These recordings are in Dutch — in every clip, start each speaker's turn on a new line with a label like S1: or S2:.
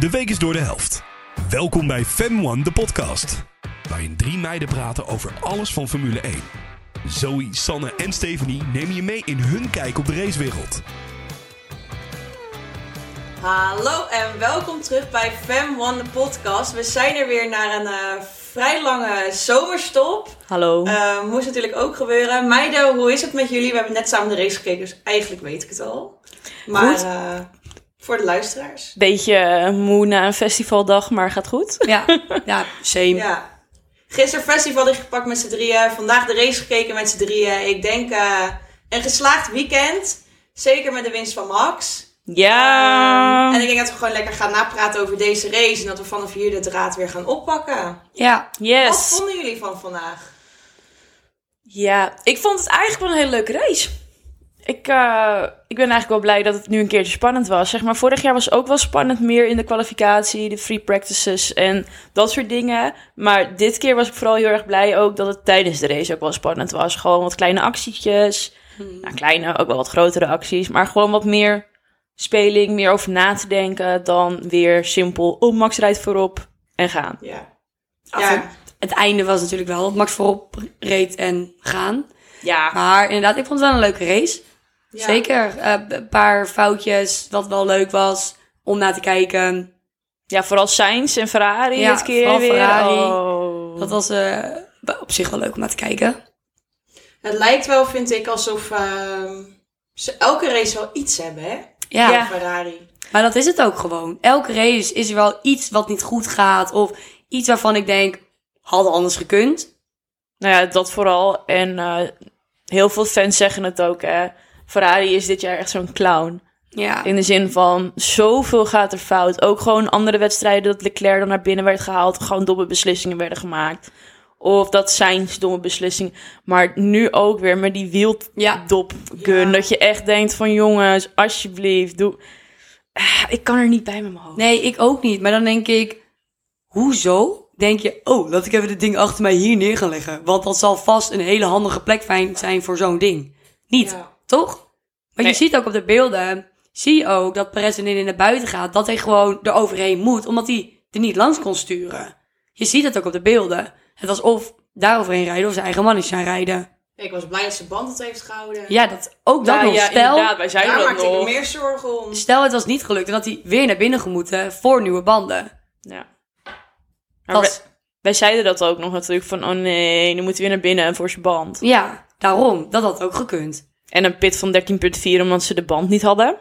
S1: De week is door de helft. Welkom bij Fem One, de podcast. Waarin drie meiden praten over alles van Formule 1. Zoe, Sanne en Stephanie nemen je mee in hun kijk op de racewereld.
S2: Hallo en welkom terug bij Fam One de podcast. We zijn er weer naar een eh, vrij lange zomerstop.
S3: Hallo.
S2: Eh, moest natuurlijk ook gebeuren. Meiden, hoe is het met jullie? We hebben net samen de race gekeken, dus eigenlijk weet ik het al. Maar
S3: Goed.
S2: eh, voor de luisteraars.
S3: Beetje eh, moe na een festivaldag, maar gaat goed.
S4: Ja, ja same.
S2: Ja. Gisteren festival gepakt met z'n drieën. Vandaag de race gekeken met z'n drieën. Ik denk eh, een geslaagd weekend. Zeker met de winst van Max.
S3: Ja.
S2: En ik denk dat we gewoon lekker gaan napraten over deze race. En dat we vanaf hier de draad weer gaan oppakken.
S4: Ja,
S2: Wat
S3: Yes.
S2: vonden jullie van vandaag?
S3: Ja, ik vond het eigenlijk wel een hele leuke race. Ik, eh, ik ben eigenlijk wel blij dat het nu een keertje spannend was. Zeg maar, vorig jaar was ook wel spannend meer in de kwalificatie, de free practices en dat soort dingen. Maar dit keer was ik vooral heel erg blij ook dat het tijdens de race ook wel spannend was. Gewoon wat kleine actietjes. Nou, kleine, ook wel wat grotere acties. Maar gewoon wat meer speling, meer over na te denken dan weer simpel. Oh, Max rijdt voorop en gaan.
S2: Ja.
S4: Ja. het einde was natuurlijk wel dat Max voorop reed en gaan.
S3: Ja,
S4: Maar inderdaad, ik vond het wel een leuke race.
S2: Ja.
S4: Zeker. eh, b- Een paar foutjes, wat wel leuk was om naar te kijken.
S3: ja vooral Sainz en Ferrari
S4: Ja,
S3: dit keer
S4: vooral
S3: weer.
S4: Ferrari.
S3: Oh.
S4: Dat was eh, b- op zich wel leuk om naar te kijken.
S2: Het lijkt wel, vind ik, alsof ehm, ze elke race wel iets hebben, hè?
S4: Ja,
S3: Ja.
S2: Ferrari.
S4: maar dat is het ook gewoon. Elke race is er wel iets wat niet goed gaat. Of iets waarvan ik denk, hadden anders gekund.
S3: Nou ja, dat vooral. En eh, heel veel fans zeggen het ook. Hè. Ferrari is dit jaar echt zo'n clown.
S4: Ja,
S3: In de zin van, zoveel gaat er fout. Ook gewoon andere wedstrijden dat Leclerc dan naar binnen werd gehaald. Gewoon domme beslissingen werden gemaakt. Of dat zijn domme beslissingen. Maar nu ook weer met die
S4: Ja.
S3: wieldopgun.
S2: Ja.
S3: Dat je echt denkt van, jongens, alsjeblieft, doe... Ah, Ik kan er niet bij met mijn hoofd.
S4: Nee, ik ook niet. Maar dan denk ik, hoezo? Denk je, oh, laat ik even dit ding achter mij hier neer gaan leggen. Want dat zal vast een hele handige plek fijn- zijn voor zo'n ding. Niet,
S2: Ja.
S4: toch? Maar
S3: Nee.
S4: je ziet ook op de beelden, zie je ook dat Perez en in naar buiten gaat. Dat hij gewoon er overheen moet, omdat hij er niet langs kon sturen. Je ziet het ook op de beelden. Het was of daar overheen rijden of zijn eigen mannetje gaan rijden.
S2: Ik was blij dat ze band het heeft gehouden.
S4: Ja, dat ook dat
S3: Ja,
S4: nog.
S3: ja,
S4: Stel,
S3: inderdaad, wij zijn
S2: Daar
S3: er ook
S2: maakte ik me
S3: nog.
S2: meer zorgen om.
S4: stel het was niet gelukt en dat hij weer naar binnen gemoeten voor nieuwe banden.
S3: Ja. Maar
S4: Dat,
S3: wij, wij zeiden dat ook nog natuurlijk. Van, oh nee, nu moet hij weer naar binnen voor zijn band.
S4: ja, daarom. Dat had ook gekund.
S3: En een pit van 13,4 omdat ze de band niet hadden.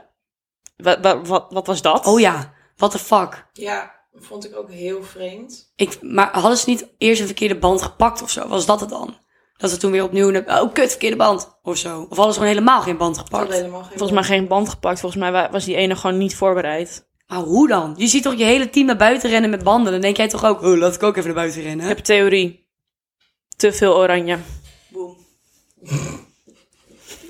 S3: Wat, wat, wat, wat was dat?
S4: Oh ja, what the fuck.
S2: Ja, vond ik ook heel vreemd.
S4: Ik, maar hadden ze niet eerst een verkeerde band gepakt of zo? Was dat het dan? Dat ze toen weer opnieuw... een- Oh, kut, verkeerde band of zo. Of hadden ze gewoon helemaal geen band
S2: Ik had
S4: gepakt?
S2: helemaal geen
S3: Volgens mij geen band gepakt. Volgens mij wa- was die ene gewoon niet voorbereid.
S4: Maar hoe dan? Je ziet toch je hele team naar buiten rennen met banden? Dan denk jij toch ook... Oh, laat ik ook even naar buiten rennen?
S3: Ik heb een theorie. Te veel oranje.
S2: Boom.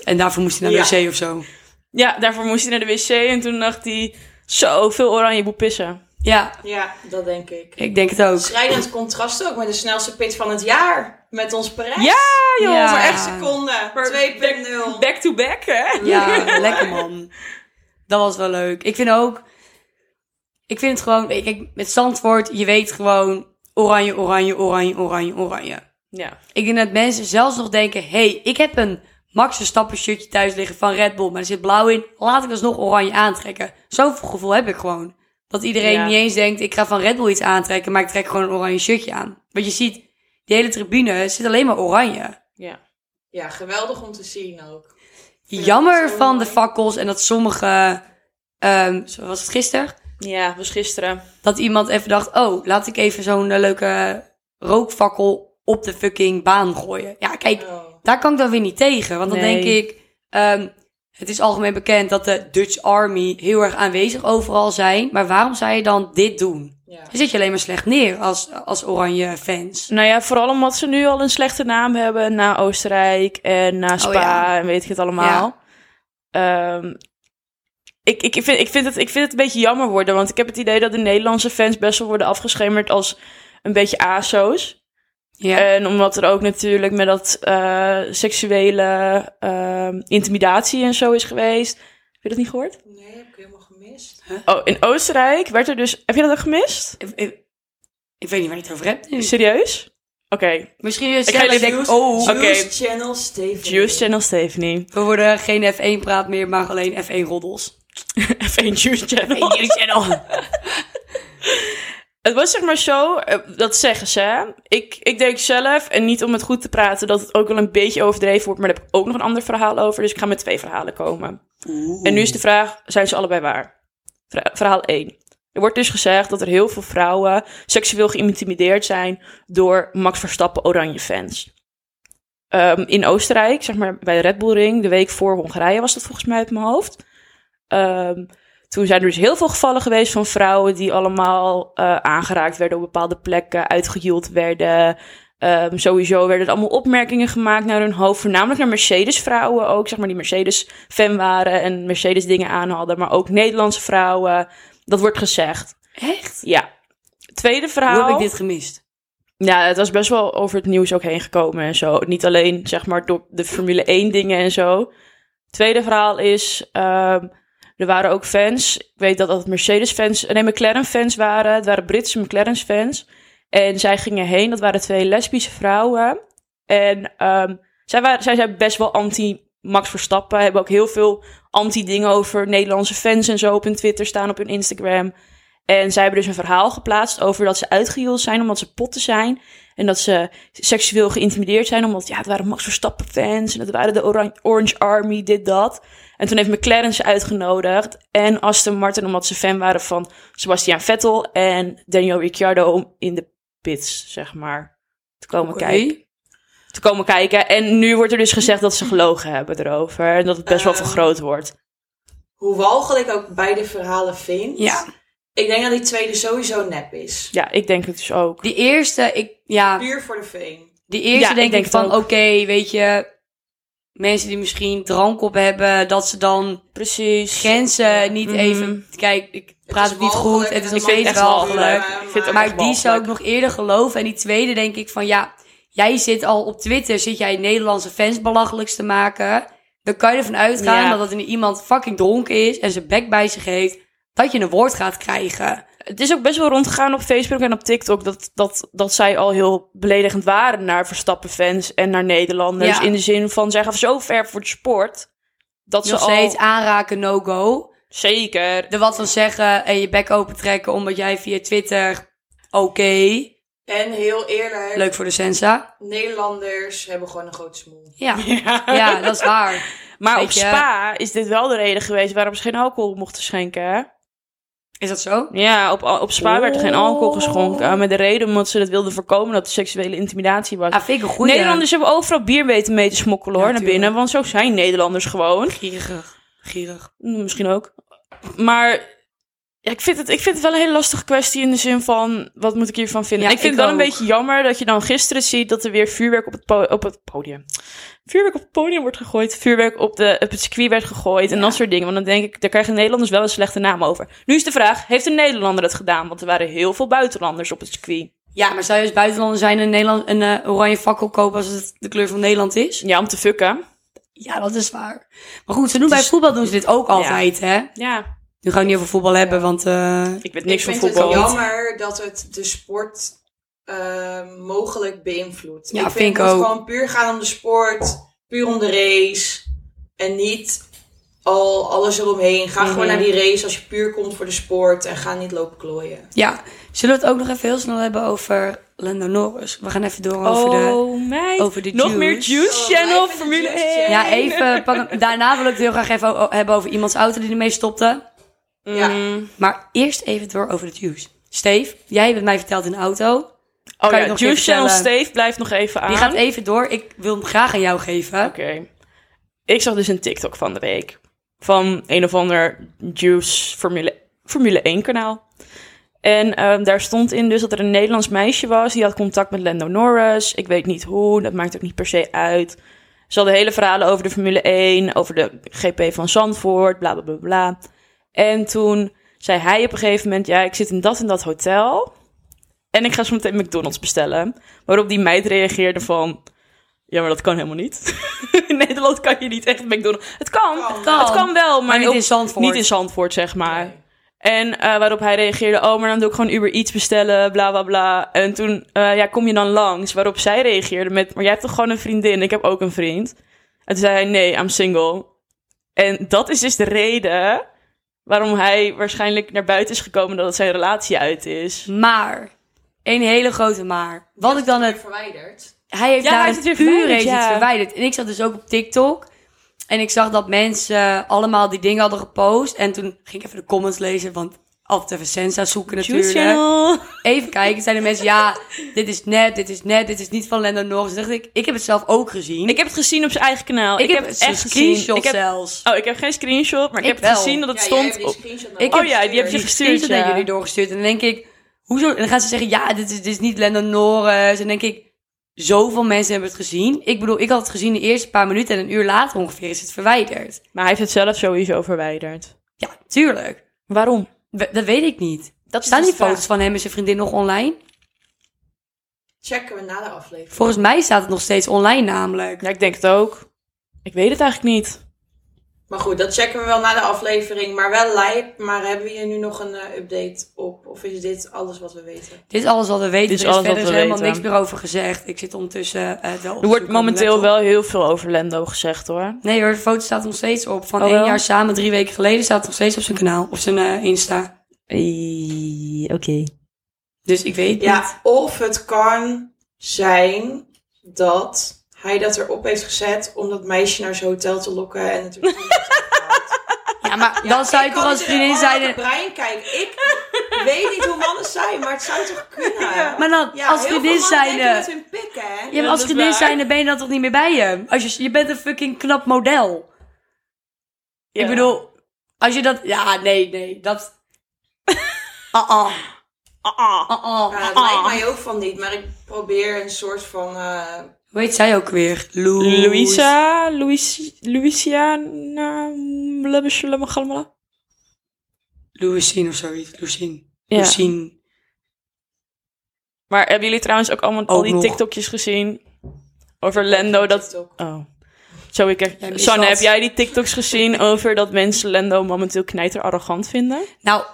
S4: En daarvoor moest hij naar de
S2: Ja.
S4: wc of zo.
S3: Ja, daarvoor moest hij naar de wc en toen dacht hij... Zo, veel oranje, boe pissen.
S4: Ja,
S2: Ja, dat denk ik.
S4: ik denk het ook.
S2: Schrijnend contrast ook met de snelste pit van het jaar. Met ons Perez.
S3: Ja, joh!
S4: Ja.
S2: Maar echt seconden.
S3: Maar
S2: 2.0.
S3: Back to back, hè?
S4: Ja, lekker man. Dat was wel leuk. Ik vind ook... Ik vind het gewoon... Kijk, met Zandvoort, je weet gewoon... Oranje, oranje, oranje, oranje, oranje.
S3: Ja.
S4: Ik denk dat mensen zelfs nog denken: hé, hey, ik heb een Max Verstappen shirtje thuis liggen van Red Bull, maar er zit blauw in. Laat ik alsnog oranje aantrekken. Zo'n gevoel heb ik gewoon. Dat iedereen
S3: Ja.
S4: niet eens denkt: ik ga van Red Bull iets aantrekken, maar ik trek gewoon een oranje shirtje aan. Want je ziet, die hele tribune zit alleen maar oranje.
S3: Ja.
S2: Ja, geweldig om te zien ook. Ja, dat
S4: Jammer
S2: is wel
S4: van de
S2: mooi.
S4: fakkels en dat sommige, ehm, zo was het gisteren,
S3: Ja, was gisteren.
S4: dat iemand even dacht: oh, laat ik even zo'n eh, leuke rookfakkel op de fucking baan gooien. Ja, kijk,
S2: Oh.
S4: daar kan ik dan weer niet tegen. Want dan
S3: Nee.
S4: denk ik, ehm, het is algemeen bekend dat de Dutch Army heel erg aanwezig overal zijn. Maar waarom zou je dan dit doen?
S2: Ja.
S4: Dan zit je alleen maar slecht neer als, als oranje fans.
S3: Nou ja, vooral omdat ze nu al een slechte naam hebben na Oostenrijk en na Spa
S4: Oh ja.
S3: en weet ik het allemaal. Ehm, ik, ik, ik, vind, ik, vind het, ik vind het een beetje jammer worden, want ik heb het idee dat de Nederlandse fans best wel worden afgeschemerd als een beetje ASO's.
S4: Ja,
S3: En omdat er ook natuurlijk met dat eh, seksuele ehm, intimidatie en zo is geweest. Heb je dat niet gehoord?
S2: Nee, heb ik helemaal gemist.
S3: Oh, in Oostenrijk werd er dus... Heb je dat ook gemist?
S4: Ik, ik- ik weet niet waar je het over hebt. nu.
S3: Serieus? Oké,
S4: Misschien is
S3: Ik ga
S4: Stella
S3: jullie
S4: denkt,
S2: Juice,
S4: oh,
S2: Juice
S3: oké.
S2: Channel Steven.
S3: Juice Channel Stephanie.
S4: we worden geen F1-praat meer, maar alleen F1-roddels.
S3: F1 Juice Channel.
S4: F1-channel.
S3: Het was zeg maar zo, eh, dat zeggen ze. hè. Ik, ik denk zelf, en niet om het goed te praten, dat het ook wel een beetje overdreven wordt. Maar daar heb ik ook nog een ander verhaal over. Dus ik ga met twee verhalen komen. En nu is de vraag, zijn ze allebei waar? Vra- verhaal 1. Er wordt dus gezegd dat er heel veel vrouwen seksueel geïntimideerd zijn door Max Verstappen oranje fans. Ehm, in Oostenrijk, zeg maar bij de Red Bull Ring, de week voor Hongarije was dat volgens mij uit mijn hoofd. Ehm, toen zijn er dus heel veel gevallen geweest van vrouwen die allemaal eh, aangeraakt werden op bepaalde plekken, uitgejoeld werden. Ehm, sowieso werden er allemaal opmerkingen gemaakt naar hun hoofd, voornamelijk naar Mercedes-vrouwen ook, zeg maar die Mercedes-fan waren en Mercedes-dingen aan hadden, maar ook Nederlandse vrouwen. Dat wordt gezegd.
S4: Echt?
S3: Ja. Tweede verhaal.
S4: Hoe heb ik dit gemist?
S3: Ja, het was best wel over het nieuws ook heen gekomen en zo. Niet alleen, zeg maar, door de Formule 1 dingen en zo. Tweede verhaal is, ehm, er waren ook fans. Ik weet dat dat Mercedes-fans, nee, McLaren-fans waren. Het waren Britse McLaren-fans. En zij gingen heen, dat waren twee lesbische vrouwen. En ehm, zij, waren, zij zijn best wel anti-Max Verstappen. Hebben ook heel veel anti-dingen over Nederlandse fans en zo op hun Twitter staan, op hun Instagram. En zij hebben dus een verhaal geplaatst over dat ze uitgehield zijn omdat ze potten zijn. En dat ze seksueel geïntimideerd zijn omdat, ja, het waren Max Verstappen fans. En het waren de Oran- Orange Army, dit, dat. En toen heeft McLaren ze uitgenodigd. En Aston Martin omdat ze fan waren van Sebastian Vettel en Daniel Ricciardo om in de pits, zeg maar, te komen
S4: Oké.
S3: kijken te komen kijken. En nu wordt er dus gezegd dat ze gelogen hebben erover. En dat het best wel
S2: Eh.
S4: Ehm.
S3: vergroot wordt.
S2: Hoe walgelijk ik ook beide verhalen vind.
S4: Ja.
S2: Ik denk dat die tweede sowieso nep is.
S3: Ja, ik denk het dus ook.
S4: Die eerste, ik, ja,
S2: Puur voor de fame.
S4: die eerste
S3: Ja, ik
S4: denk ik,
S3: denk het
S4: van,
S3: ook.
S4: oké, weet je, mensen die misschien drank op hebben, dat ze dan
S3: Precies.
S4: grenzen niet
S3: Mhm.
S4: even, kijk, ik praat
S2: is
S4: het, niet goed,
S2: walgelijk,
S4: het is nog
S2: het mag
S4: steeds
S3: echt wel
S2: gebeuren,
S4: walgelijk.
S3: Ik vind het ook
S4: Maar
S3: echt
S4: die zou ik
S3: walgelijk.
S4: nog eerder geloven. En die tweede denk ik van ja, jij zit al op Twitter, zit jij Nederlandse fans belachelijks te maken. Dan kan je ervan uitgaan
S3: Ja.
S4: dat dat er iemand fucking dronken is en zijn bek bij zich heeft, dat je een woord gaat krijgen.
S3: Het is ook best wel rondgegaan op Facebook en op TikTok. Dat, dat, dat zij al heel beledigend waren naar Verstappen-fans en naar Nederlanders.
S4: Ja.
S3: In de zin van, zij gaan zo ver voor de sport. Dat
S4: Nog
S3: ze
S4: steeds
S3: al...
S4: aanraken, no-go.
S3: Zeker.
S4: Er wat van zeggen en je bek open trekken omdat jij via Twitter, oké,
S2: En heel eerlijk,
S4: leuk voor de sensa.
S2: Nederlanders hebben gewoon een grote smoel.
S4: Ja. ja, dat is waar.
S3: Maar op
S4: Weet je-
S3: Spa is dit wel de reden geweest waarom ze geen alcohol mochten schenken, hè?
S4: Is dat zo?
S3: Ja, op, op Spa werd er geen alcohol
S4: Oh.
S3: geschonken. Met de reden omdat ze dat wilden voorkomen dat er seksuele intimidatie was.
S4: Ah, vind ik een goede.
S3: Nederlanders hebben overal bier weten mee te smokkelen hoor,
S4: Ja,
S3: naar
S4: tuurlijk.
S3: binnen. Want zo zijn Nederlanders gewoon.
S4: Gierig. Gierig.
S3: Mm, Misschien ook. Maar ja, ik, vind het, ik vind het wel een hele lastige kwestie in de zin van... wat moet ik hiervan vinden?
S4: Ja,
S3: ik vind
S4: ik
S3: het wel een
S4: ook.
S3: beetje jammer dat je dan gisteren ziet... dat er weer vuurwerk op het, po- op het podium... vuurwerk op het podium wordt gegooid... vuurwerk op, de, op het circuit werd gegooid... en dat soort dingen. Want dan denk ik, daar krijgen Nederlanders wel een slechte naam over. Nu is de vraag, heeft een Nederlander het gedaan? Want er waren heel veel buitenlanders op het circuit.
S4: Ja, maar zou je als buitenlander zijn en Nederland een eh, oranje fakkel kopen als het de kleur van Nederland is?
S3: Ja, om te fucken.
S4: Ja, dat is waar. Maar goed, ze doen bij voetbal doen ze dit ook altijd, hè?
S3: Ja,
S4: Nu gaan we het niet over voetbal hebben, want eh,
S3: ik weet niks
S2: ik
S3: van
S2: vind
S3: voetbal.
S2: het jammer dat het de sport eh, mogelijk beïnvloedt.
S4: Ja, vind ik
S2: het moet
S4: ook.
S2: gewoon puur gaan om de sport, puur om de race. En niet al alles eromheen. Ga gewoon
S3: Mhm.
S2: naar die race als je puur komt voor de sport en ga niet lopen klooien.
S4: ja. Zullen we het ook nog even heel snel hebben over Lando Norris? We gaan even door over de...
S3: meid.
S4: over de
S3: Nog
S4: juice.
S3: meer Juice
S2: Oh,
S3: Channel,
S2: even de
S3: Formule
S2: Juice
S3: 1.
S4: Ja, even pakken. Daarna wil ik het heel graag even o- hebben over iemands auto die ermee stopte.
S2: Ja.
S3: Mhm.
S4: Maar eerst even door over het juice. Steve, jij hebt het mij verteld in de auto.
S3: Oh
S4: Kan je
S3: ja,
S4: nog
S3: Juice
S4: even
S3: Channel
S4: vertellen?
S3: Steve blijft nog even aan.
S4: Die gaat even door. Ik wil hem graag aan jou geven.
S3: Oké. Ik zag dus een TikTok van de week. Van een of ander Juice Formule, Formule 1 kanaal. En ehm, daar stond in dus dat er een Nederlands meisje was. Die had contact met Lando Norris. Ik weet niet hoe, dat maakt ook niet per se uit. Ze hadden hele verhalen over de Formule 1, over de GP van Zandvoort, bla bla bla bla. En toen zei hij op een gegeven moment: Ja, ik zit in dat en dat hotel. En ik ga zo meteen McDonald's bestellen. Waarop die meid reageerde van... Ja, maar dat kan helemaal niet. in Nederland kan je niet echt McDonald's... Het kan, het
S2: Kan.
S3: kan,
S4: Kan.
S3: wel, maar,
S4: Maar niet
S3: op-
S4: in Zandvoort.
S3: Niet in Zandvoort, zeg maar. En eh, waarop hij reageerde, oh, maar dan doe ik gewoon Uber iets bestellen, bla bla bla. En toen, eh, ja, kom je dan langs? Waarop zij reageerde met, maar jij hebt toch gewoon een vriendin? Ik heb ook een vriend. En toen zei hij, nee, I'm single. En dat is dus de reden waarom hij waarschijnlijk naar buiten is gekomen dat het zijn relatie uit is.
S4: Maar, een hele grote maar. Wat ik dan het
S2: verwijderd.
S4: Hij heeft
S3: Ja,
S4: daar
S3: hij
S4: een
S3: heeft het weer
S4: puur
S3: verwijderd,
S4: heeft het
S3: ja.
S4: verwijderd. En ik zat dus ook op TikTok. En ik zag dat mensen eh, allemaal die dingen hadden gepost. En toen ging ik even de comments lezen. Want altijd even Sensa zoeken natuurlijk.
S3: Channel.
S4: Even kijken. Zijn de mensen, ja, dit is net, dit is net, dit is niet van Lando Norris. Toen dacht ik, ik heb het zelf ook gezien.
S3: Ik heb het gezien op zijn eigen kanaal. Ik, heb het
S4: een
S3: echt gezien.
S4: screenshot
S3: Ik heb-
S4: zelfs.
S3: Oh, ik heb geen screenshot, maar ik,
S4: Ik
S3: heb het
S4: wel.
S3: gezien dat het
S2: Ja, jij hebt
S3: stond
S2: die
S3: op...
S2: screenshot naar
S4: Ik
S2: mij
S4: heb-
S3: Oh ja, die heb je
S4: die
S3: gestuurd,
S4: screenshot naar
S3: ja.
S4: jullie doorgestuurd. En dan denk ik, hoezo? En dan gaan ze zeggen, ja, dit is, dit is niet Lando Norris. En dan denk ik, zoveel mensen hebben het gezien. Ik bedoel, ik had het gezien de eerste paar minuten en een uur later ongeveer is het verwijderd.
S3: Maar hij heeft het zelf sowieso verwijderd.
S4: Ja, tuurlijk.
S3: Waarom?
S4: We- dat weet ik niet.
S3: Dat is
S4: Staan
S3: dus
S4: die
S3: de vraag.
S4: foto's van hem en zijn vriendin nog online?
S2: Checken we na de aflevering.
S4: Volgens mij staat het nog steeds online namelijk.
S3: Ja, ik denk het ook. Ik weet het eigenlijk niet.
S2: Maar goed, dat checken we wel na de aflevering. Maar wel live. Maar hebben we hier nu nog een eh, update op? Of is dit alles wat we weten?
S4: Dit is alles wat we weten.
S3: Dit is
S4: er is
S3: alles wat
S4: verder dus
S3: we
S4: helemaal
S3: weten.
S4: niks meer over gezegd. Ik zit ondertussen eh, het wel
S3: Er wordt momenteel wel heel veel over Lendo gezegd, hoor.
S4: Nee hoor, de foto staat nog steeds op. Van
S3: Oh,
S4: één
S3: wel?
S4: jaar samen, drie weken geleden, staat het nog steeds op zijn kanaal. Op zijn eh, Insta.
S3: Oké.
S4: Dus ik weet niet.
S2: Ja, of het kan zijn dat hij dat erop heeft gezet om dat meisje naar zijn hotel te lokken. En natuurlijk.
S4: Ja, maar dan zou je toch
S2: dus
S4: als vriendin
S2: oh,
S4: zijn...
S2: Brian, kijk, ik weet niet hoe mannen zijn, maar het zou toch kunnen?
S4: Maar dan, als
S2: heel veel
S4: vriendin
S2: mannen
S4: zijn...
S2: denken
S4: eh,
S2: met hun pik, hè?
S4: Ja, maar
S3: Ja,
S4: als
S3: dat is
S4: vriendin
S3: waar.
S4: zijn, dan ben je dan toch niet meer bij hem? Als je, je bent een fucking knap model. Ik bedoel, als je dat... Ja, nee, nee, dat... Ah, ah, ah, ah,
S2: Ja, het
S4: ah.
S2: lijkt mij ook van niet, maar ik probeer een soort van... eh,
S4: Hoe heet zij ook weer? Lou-
S3: Louisa, Louis, Louisiana, blablabla.
S4: Louisine of zoiets. Lucine.
S3: Ja.
S4: Lucine.
S3: Maar hebben jullie trouwens ook allemaal al
S4: Ook
S3: die
S4: nog.
S3: TikTokjes gezien? Over Lendo, dat...
S2: TikTok.
S3: Oh. Zo, ik heb...
S4: Jij mist
S3: Sanne,
S4: dat.
S3: heb jij die TikToks gezien over dat mensen Lendo momenteel knijter arrogant vinden?
S4: Nou,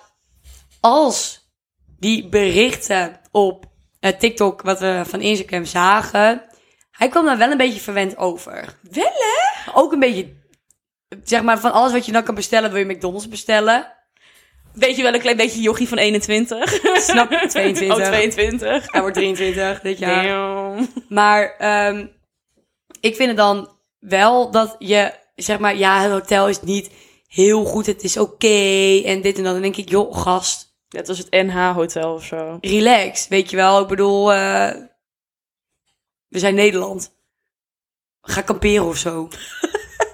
S4: als die berichten op eh, TikTok, wat we van Instagram zagen, hij kwam daar wel een beetje verwend over. Wel hè? Ook een beetje, zeg maar, van alles wat je dan kan bestellen, wil je McDonald's bestellen.
S3: Weet je wel, een klein beetje jochie van 21.
S4: Snap je? 22.
S3: Oh, 22.
S4: Hij wordt 23 dit jaar.
S3: Damn.
S4: Maar ehm, ik vind het dan wel dat je, zeg maar, ja, het hotel is niet heel goed, het is oké en dit en dat. Dan denk ik, joh, gast,
S3: Dat was het NH-hotel of zo.
S4: relax, weet je wel. Ik bedoel, eh, we zijn Nederland. Ga kamperen of zo.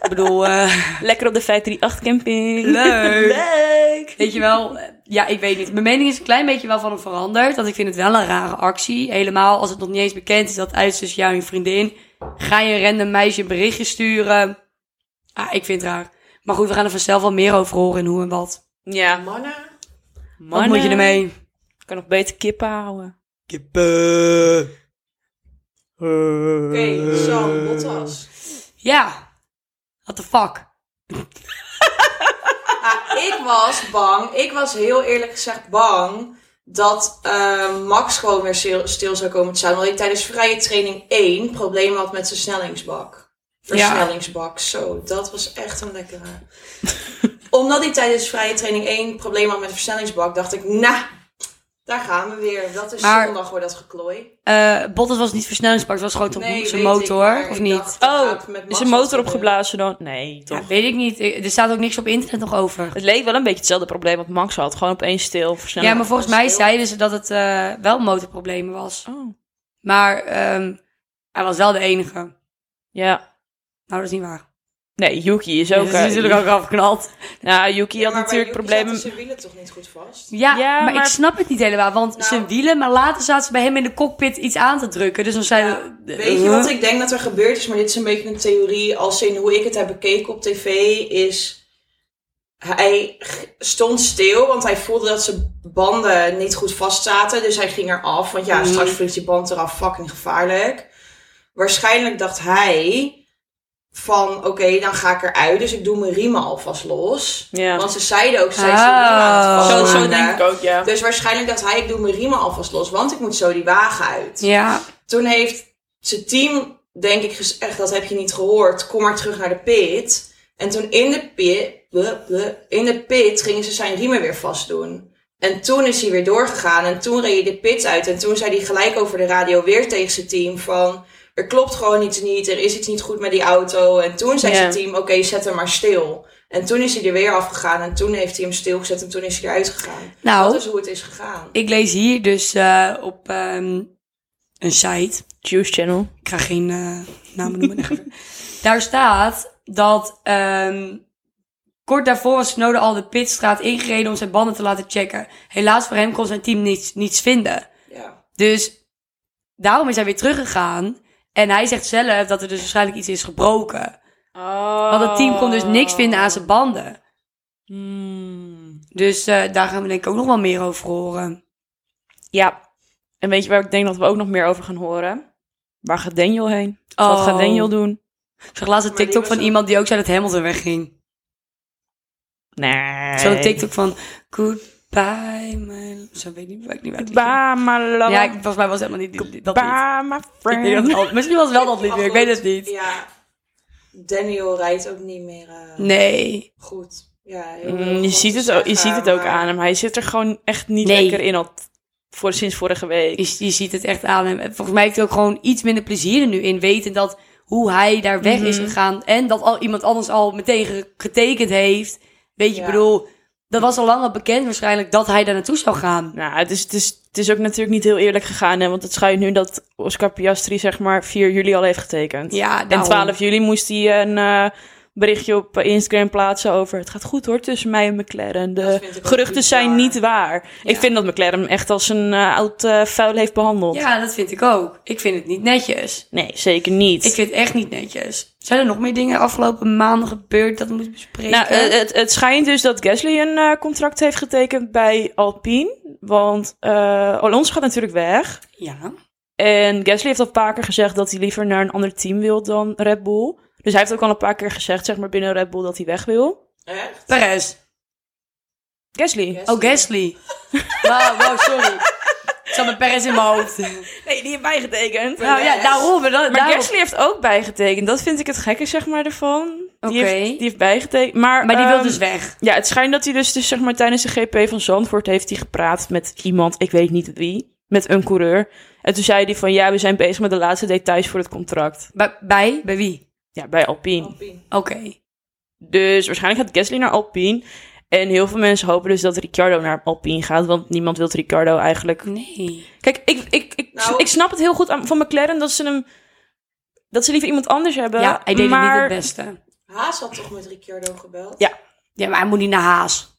S4: ik bedoel, eh,
S3: Lekker op de 538-camping.
S4: Leuk.
S3: Leuk.
S4: weet je wel. eh, Ja, ik weet niet. Mijn mening is een klein beetje wel van hem veranderd. Want ik vind het wel een rare actie. Helemaal als het nog niet eens bekend is dat uit tussen jou en je vriendin. Ga je een random meisje een berichtje sturen. Ah, ik vind het raar. Maar goed, we gaan er vanzelf wel meer over horen en hoe en wat.
S3: Ja.
S2: mannen?
S4: Wat moet je ermee?
S3: Ik kan nog beter kippen houden.
S4: Kippen.
S2: Oké, Sam, Bottas.
S4: Ja. What the fuck?
S2: Ah, ik was bang, ik was heel eerlijk gezegd bang dat eh, Max gewoon weer stil, stil zou komen te staan. Omdat ik tijdens vrije training 1 problemen had met zijn snellingsbak. Versnellingsbak, zo. Dat was echt een lekkere. Omdat ik tijdens vrije training 1 problemen had met de versnellingsbak, dacht ik, nou, daar gaan we weer. Dat is
S4: Maar-
S2: zondag hoor, dat geklooi.
S4: eh Bottas was niet versnellingsbak, het was gewoon toch
S2: Nee,
S4: zijn
S2: weet ik,
S4: motor,
S2: maar ik
S4: of niet?
S2: dacht, dat
S3: Oh,
S2: gaat met
S3: is
S2: Max
S3: een
S2: wat
S3: motor
S2: gebeuren.
S3: opgeblazen dan? Nee, toch?
S4: Ja, weet ik niet. Eh, Er staat ook niks op internet nog over.
S3: Het leek wel een beetje hetzelfde probleem wat Max had. Gewoon opeens stil, versnellen.
S4: Ja, maar volgens
S2: was
S4: mij
S2: stil.
S4: zeiden ze dat het eh, wel motorproblemen was.
S3: Oh.
S4: Maar ehm, hij was wel de enige. Nou,
S3: Ja.
S4: dat is niet waar.
S3: Nee, Yuki is
S4: Ja,
S3: ook...
S4: dat is
S3: eh,
S4: natuurlijk ook afgeknald.
S3: Nou, Yuki
S2: Ja,
S3: had
S2: maar bij
S3: natuurlijk
S2: Yuki
S3: problemen...
S4: dus-
S2: zaten zijn wielen toch niet goed vast?
S4: Ja,
S3: Ja,
S4: maar,
S3: maar-
S4: ik snap het niet helemaal. Want
S2: Nou.
S4: zijn wielen, maar later zaten ze bij hem in de cockpit iets aan te drukken. Dus dan zeiden we...
S2: Weet
S3: Eh,
S2: je wat ik denk dat er gebeurd is? Maar dit is een beetje een theorie. Als in hoe ik het heb bekeken op tv is... Hij g- stond stil, want hij voelde dat zijn banden niet goed vast zaten. Dus hij ging eraf. Want ja,
S4: Mhm.
S2: straks vliegt die band eraf. Fucking gevaarlijk. Waarschijnlijk dacht hij... van oké, dan ga ik eruit. Dus ik doe mijn riemen alvast los.
S3: Ja.
S2: Want ze zeiden ook, ze zijn
S4: Ah.
S2: zo riemen aan het
S4: Zo-
S3: Zo,
S4: zo
S2: vastmaken.
S3: denk ik ook, ja.
S2: Dus waarschijnlijk dacht hij, ik doe mijn riemen alvast los, want ik moet zo die wagen uit.
S4: Ja,
S2: Toen heeft zijn team, denk ik, gezegd, dat heb je niet gehoord, kom maar terug naar de pit. En toen in de pit, ble- ble- in de pit gingen ze zijn riemen weer vastdoen. En toen is hij weer doorgegaan en toen reed hij de pit uit. En toen zei hij gelijk over de radio weer tegen zijn team van... Er klopt gewoon iets niet, er is iets niet goed met die auto. En toen zei
S3: Ja.
S2: zijn team, oké, zet hem maar stil. En toen is hij er weer afgegaan en toen heeft hij hem stilgezet en toen is hij eruit gegaan.
S4: nou,
S2: Dat is hoe het is gegaan.
S4: ik lees hier dus eh, op ehm, een site.
S3: Juice Channel.
S4: Ik ga geen eh, namen noemen. echt even. Daar staat dat ehm, kort daarvoor was Snowden al de pitstraat ingereden om zijn banden te laten checken. Helaas voor hem kon zijn team niets, niets vinden.
S2: Ja.
S4: Dus daarom is hij weer teruggegaan. En hij zegt zelf dat er dus waarschijnlijk iets is gebroken.
S3: Oh.
S4: Want het team kon dus niks vinden aan zijn banden.
S3: Hmm.
S4: Dus eh, daar gaan we denk ik ook nog wel meer over horen.
S3: Ja. En weet je waar ik denk dat we ook nog meer over gaan horen? Waar gaat Daniel heen? Wat
S4: Oh.
S3: gaat Daniel doen?
S4: Ik zag laatst een
S2: Maar die
S4: TikTok
S2: was
S4: van
S2: ook-
S4: iemand die ook zei dat Hamilton wegging.
S3: Nee.
S4: Zo'n TikTok van goodbye my... Zo weet ik niet, weet ik niet waar het liedje-
S3: Bye, my love.
S4: Ja, ik, volgens mij was het helemaal niet dit- dit- dat lied.
S3: Bye, my
S4: Ik denk dat
S3: friend.
S4: het al- misschien was het wel dat lied weer, ik weet het niet.
S2: Ja, Daniel rijdt ook niet meer eh,
S4: Nee.
S2: goed. Ja, heel
S3: Mm,
S2: veel
S3: Je
S2: goed
S3: ziet het,
S2: te
S3: ook, je
S2: zeggen,
S3: ziet het ook
S2: maar-
S3: aan hem. Hij zit er gewoon echt niet
S4: Nee.
S3: lekker in al t- voor, sinds vorige week.
S4: Je, je ziet het echt aan hem. En Volgens mij heeft hij ook gewoon iets minder plezier er nu in. Weten dat hoe hij daar weg is gegaan. En dat al iemand anders al meteen ge- getekend heeft. Weet
S2: Ja.
S4: je, ik bedoel... Dat was al lang al bekend waarschijnlijk dat hij daar naartoe zou gaan.
S3: Nou, het is, het, is, het is ook natuurlijk niet heel eerlijk gegaan. Hè, want het schuift nu dat Oscar Piastri zeg maar 4 juli al heeft getekend.
S4: Ja,
S3: en
S4: daarom.
S3: 12 juli moest hij een eh, berichtje op Instagram plaatsen over... Het gaat goed hoor tussen mij en McLaren.
S2: Dat
S3: De
S2: vind ik ook
S3: geruchten
S2: bizar.
S3: zijn niet waar. Ik
S4: Ja.
S3: vind dat McLaren hem echt als een eh, oud eh, vuil heeft behandeld.
S4: Ja, dat vind ik ook. Ik vind het niet netjes.
S3: Nee, zeker niet.
S4: Ik vind het echt niet netjes. Zijn er nog meer dingen afgelopen maanden gebeurd dat we moeten bespreken?
S3: Nou, eh, het, het schijnt dus dat Gasly een eh, contract heeft getekend bij Alpine. Want eh Alonso gaat natuurlijk weg.
S4: ja.
S3: En Gasly heeft al een paar keer gezegd dat hij liever naar een ander team wil dan Red Bull. Dus hij heeft ook al een paar keer gezegd, zeg maar binnen Red Bull, dat hij weg wil.
S2: Echt?
S4: Perez.
S3: Gasly.
S4: Oh, Gasly. wow, wow, sorry. Ik zat met Perez in mijn hoofd.
S3: Nee, die heeft bijgetekend.
S4: Nou ja, daarom. Maar
S3: maar Gasly heeft ook bijgetekend. Dat vind ik het gekke, zeg maar, ervan. Die,
S4: Oké.
S3: heeft, die heeft bijgetekend. Maar,
S4: Maar die wil
S3: ehm,
S4: dus weg.
S3: Ja, het schijnt dat hij dus, dus zeg maar, tijdens de GP van Zandvoort heeft hij gepraat met iemand, ik weet niet wie, met een coureur. En toen zei hij van, ja, we zijn bezig met de laatste details voor het contract.
S4: Bij, bij, bij wie?
S3: Ja, bij Alpine.
S2: Alpine.
S4: Oké.
S3: Dus waarschijnlijk gaat Gasly naar Alpine. En heel veel mensen hopen dus dat Ricciardo naar Alpine gaat, want niemand wil Ricciardo eigenlijk.
S4: Nee.
S3: Kijk, ik, ik, ik,
S2: Nou-
S3: ik snap het heel goed aan- van McLaren dat ze hem, dat ze liever iemand anders hebben.
S4: Ja, hij deed
S3: maar...
S4: het niet het beste.
S2: Haas had toch met Ricciardo gebeld?
S3: Ja.
S4: Ja, maar hij moet niet naar Haas.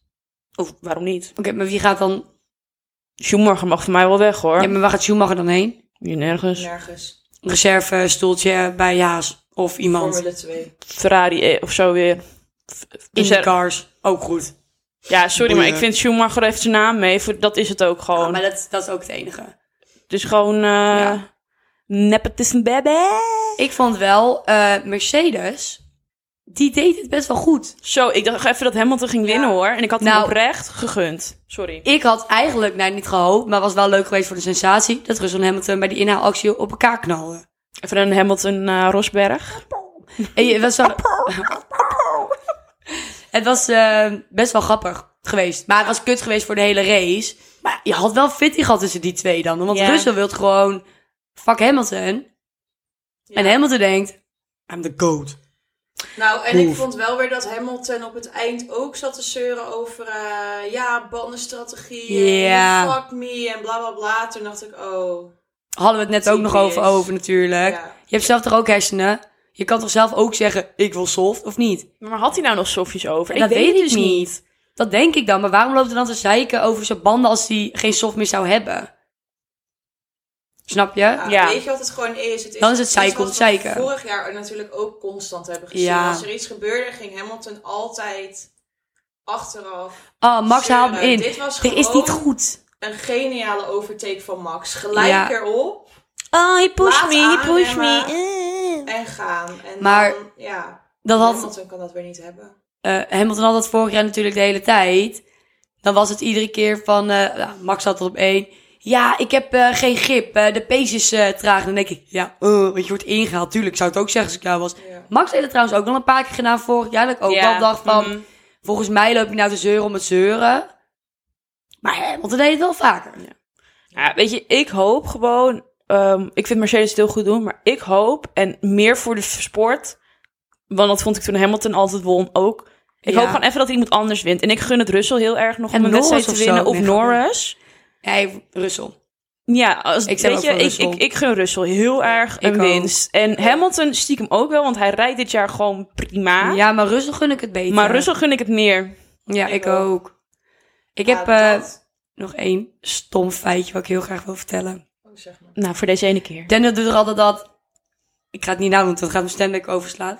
S3: Oeh, waarom niet?
S4: Oké, maar wie gaat dan...
S3: Schumacher mag voor mij wel weg, hoor.
S4: Ja, maar waar gaat Schumacher dan heen?
S3: Hier nergens.
S2: Nergens.
S4: Reserve eh, stoeltje bij Haas. Of iemand.
S2: Formule 2.
S3: Ferrari eh, of zo weer. F- f-
S4: In
S3: dus
S4: de
S3: er-
S4: cars. Ook goed.
S3: Ja, sorry, maar ik
S4: Boeien.
S3: vind Schumacher heeft zijn naam mee. Voor, dat is het ook gewoon.
S4: Ja, maar dat, dat is ook het enige.
S3: Het is gewoon... eh
S4: Ja.
S3: Nepotism baby.
S4: Ik vond wel, eh, Mercedes, die deed het best wel goed.
S3: Zo, ik dacht even dat Hamilton ging winnen,
S2: Ja.
S3: hoor. En ik had hem
S4: Nou.
S3: oprecht gegund. Sorry.
S4: Ik had eigenlijk, nou niet gehoopt, maar was wel leuk geweest voor de sensatie, dat Russell en Hamilton bij die inhaalactie op elkaar knalden.
S3: Even eh, een Hamilton-Rosberg.
S4: En je- het was, wel- het was eh, best wel grappig geweest. Maar het was kut geweest voor de hele race. Maar je had wel fitty gehad tussen die twee dan. Want
S3: Ja.
S4: Russell wil gewoon, fuck Hamilton. En Hamilton denkt, I'm the goat.
S2: Nou, en ik
S4: Oef.
S2: vond wel weer dat Hamilton op het eind ook zat te zeuren over... eh, ja, bandenstrategie.
S4: Ja.
S2: en Fuck me en bla bla bla. Toen dacht ik, oh...
S4: Hadden we het net ook nog
S2: Typisch.
S4: over, over natuurlijk.
S2: Ja.
S4: Je hebt zelf toch ook hersenen? Je kan toch zelf ook zeggen, ik wil soft of niet?
S3: Maar had hij nou nog sofjes over?
S4: dat weet
S3: dus
S4: ik niet. Dat denk ik dan. Maar waarom loopt er dan te zeiken over zijn banden als hij geen soft meer zou hebben? Snap je?
S2: Ja,
S3: Ja.
S2: Weet je wat het gewoon is? Het is
S4: Dan is het zeiken
S2: iets wat
S4: om het
S2: we
S4: zeiken.
S2: vorig jaar natuurlijk ook constant hebben gezien.
S4: Ja.
S2: Als er iets gebeurde, ging Hamilton altijd achteraf.
S4: Oh, Max
S2: zeuren.
S4: haalt hem in.
S2: Dit was
S4: Dit is
S2: gewoon
S4: niet goed.
S2: een geniale overtake van Max. Gelijk
S4: Ja.
S2: erop
S3: Oh, he
S2: Laat
S3: pushed me, he pushed
S2: aanremmen.
S3: me. Eh.
S2: en gaan. En
S4: Maar
S2: dan, ja,
S4: Dat had
S2: Hamilton kan dat weer niet hebben.
S4: eh Hamilton had dat vorig jaar natuurlijk de hele tijd. Dan was het iedere keer van, eh, nou, Max zat tot op één. Ja, ik heb eh, geen grip. eh, de pace is eh, traag. Dan denk ik, ja, eh, want je wordt ingehaald. Tuurlijk, ik zou het ook zeggen als ik jou was.
S2: Ja.
S4: Max heeft het trouwens ook nog een paar keer gedaan vorig jaar. Dat ik ook
S3: Ja,
S4: wel dacht van,
S3: mhm.
S4: volgens mij loop je nou te zeuren om het zeuren. Maar Hamilton deed het wel vaker.
S3: Ja, weet je, ik hoop gewoon. ehm, ik vind Mercedes het heel goed doen, maar ik hoop en meer voor de sport. Want dat vond ik toen Hamilton altijd won ook. Ik
S4: Ja.
S3: hoop gewoon even dat iemand anders wint. En ik gun het Russell heel erg nog
S4: En
S3: om een
S4: Norris
S3: wedstrijd te
S4: of zo,
S3: winnen. Of
S4: nee, grapje.
S3: Norris.
S4: Hij, Russell.
S3: Ja, als,
S4: Ik stem
S3: weet
S4: ook
S3: je,
S4: voor
S3: ik,
S4: Russell.
S3: ik, ik gun Russell heel erg
S4: ik
S3: een
S4: ook.
S3: winst. En Hamilton stiekem ook wel, want hij rijdt dit jaar gewoon prima.
S4: Ja, maar Russell gun ik het beter.
S3: maar Russell gun ik het meer.
S4: Ja,
S2: Ik
S4: ik
S2: ook.
S4: ook. Ik
S2: Ja,
S4: heb eh,
S2: dat-
S4: nog één stom feitje wat ik heel graag wil vertellen.
S2: oh, zeg maar.
S3: Nou, voor deze ene keer.
S4: Daniel doet er altijd dat. Ik ga het niet nou doen, want het gaat mijn stemdek overslaan.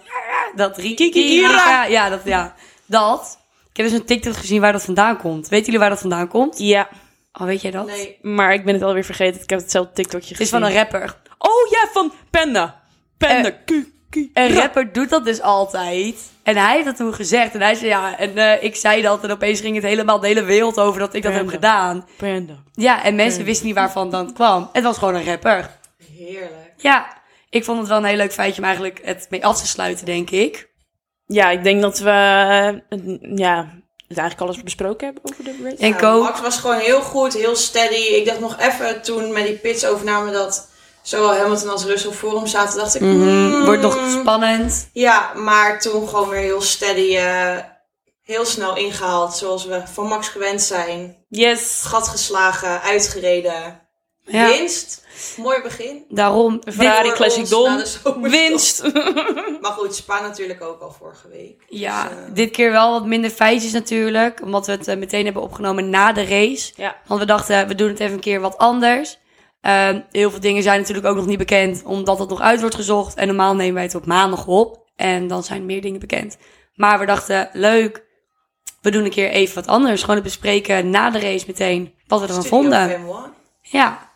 S4: Dat
S3: Kikikira.
S4: Rikikikira. Ja, dat ja. Dat. Ik heb dus een TikTok gezien waar dat vandaan komt. Weten jullie waar dat vandaan komt?
S3: Ja,
S4: Oh, weet jij dat?
S2: Nee,
S3: maar ik ben het alweer vergeten. Ik heb hetzelfde TikTokje
S4: Het is
S3: gezien.
S4: van een rapper.
S3: Oh ja, van Panda. Panda.
S4: Eh,
S3: Q, Q,
S4: Een
S3: Ra.
S4: rapper doet dat dus altijd. En hij heeft dat toen gezegd. En hij zei ja. En eh, ik zei dat. En opeens ging het helemaal de hele wereld over dat ik dat heb
S3: Random.
S4: gedaan.
S3: Panda.
S4: Ja, en mensen wisten niet waarvan dat kwam. Het was gewoon een rapper.
S2: heerlijk.
S4: Ja, ik vond het wel een heel leuk feitje om eigenlijk het mee af te sluiten, denk ik.
S3: Ja, ik denk dat we eh, ja, het eigenlijk alles besproken hebben over de race.
S4: Ik
S2: Ja, Nou,
S4: ook.
S2: Max was gewoon heel goed, heel steady. Ik dacht nog even toen met die pits overname dat zowel Hamilton als Russell voor hem zaten, dacht ik...
S4: Mhm,
S2: hmm,
S4: Wordt nog spannend.
S2: Ja, maar toen gewoon weer heel steady, eh, heel snel ingehaald. Zoals we van Max gewend zijn.
S3: Yes.
S2: Gat geslagen, uitgereden.
S4: Ja,
S2: Winst, mooi begin.
S4: daarom.
S3: Ferrari
S2: Voor
S3: Classic
S2: ons
S3: Dom.
S2: na de zomerstop.
S3: Winst.
S2: Maar goed, Spa natuurlijk ook al vorige week.
S4: Ja,
S2: Dus, eh,
S4: dit keer wel wat minder feitjes natuurlijk. Omdat we het eh, meteen hebben opgenomen na de race.
S3: ja.
S4: Want we dachten, we doen het even een keer wat anders. Ehm, heel veel dingen zijn natuurlijk ook nog niet bekend. Omdat het nog uit wordt gezocht. En normaal nemen wij het op maandag op. En dan zijn meer dingen bekend. Maar we dachten, leuk. We doen een keer even wat anders. Gewoon het bespreken na de race meteen. Wat we ervan
S2: Studio
S4: vonden.
S2: Fem One.
S4: Ja.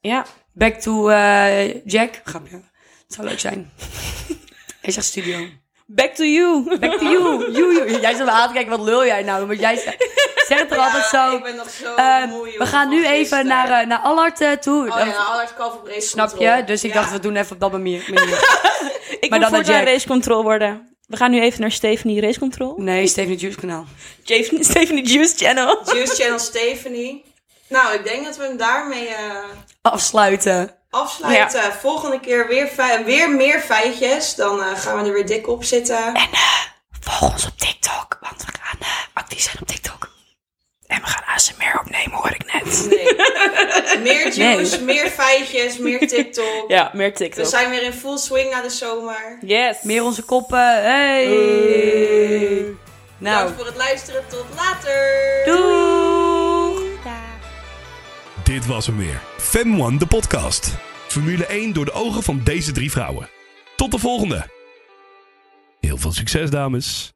S3: ja.
S4: Back to eh, Jack. Grapje. Het zou leuk zijn. Hij zegt studio.
S3: Back to you.
S4: Back to you. you, you. Jij zat me aan te kijken, wat lul jij nou? Maar jij zegt, zegt het er
S2: Ja,
S4: altijd zo.
S2: Ah, ik ben nog zo
S4: ehm,
S2: moe, joh,
S4: we gaan
S2: van
S4: nu even
S2: gisteren.
S4: naar, eh, naar Allard eh, toe.
S2: Oh ja,
S4: Eh,
S2: naar Allard Kalverbrees
S4: Snap je? Dus ik dacht, we doen even op dat manier. manier.
S3: Ik
S4: Maar
S3: moet
S4: dan naar
S3: voortaan
S4: Jack.
S3: race control worden. We gaan nu even naar Stephanie Race Control.
S4: Nee, Steven Juice kanaal.
S3: Stephanie, Stephanie Juice Channel.
S2: Juice Channel Stephanie. Nou, ik denk dat we hem daarmee eh,
S4: Afsluiten.
S2: afsluiten. Volgende keer weer, fe- weer meer feitjes. Dan eh, gaan we er weer dik op zitten.
S4: Volg ons op TikTok, want we gaan eh, actief zijn op TikTok. En we gaan ASMR opnemen, hoor ik net.
S2: Nee. meer juice, meer feitjes, meer TikTok.
S3: Ja,
S2: We
S3: meer
S4: Dus-
S3: TikTok.
S2: zijn weer in full swing na de zomer.
S3: Yes.
S4: Meer onze koppen. Hey. Nou,
S2: Bedankt voor het luisteren. Tot later.
S4: doeg.
S1: Dit was hem weer. Fem One, de podcast. Formule 1 door de ogen van deze drie vrouwen. Tot de volgende. Heel veel succes, dames.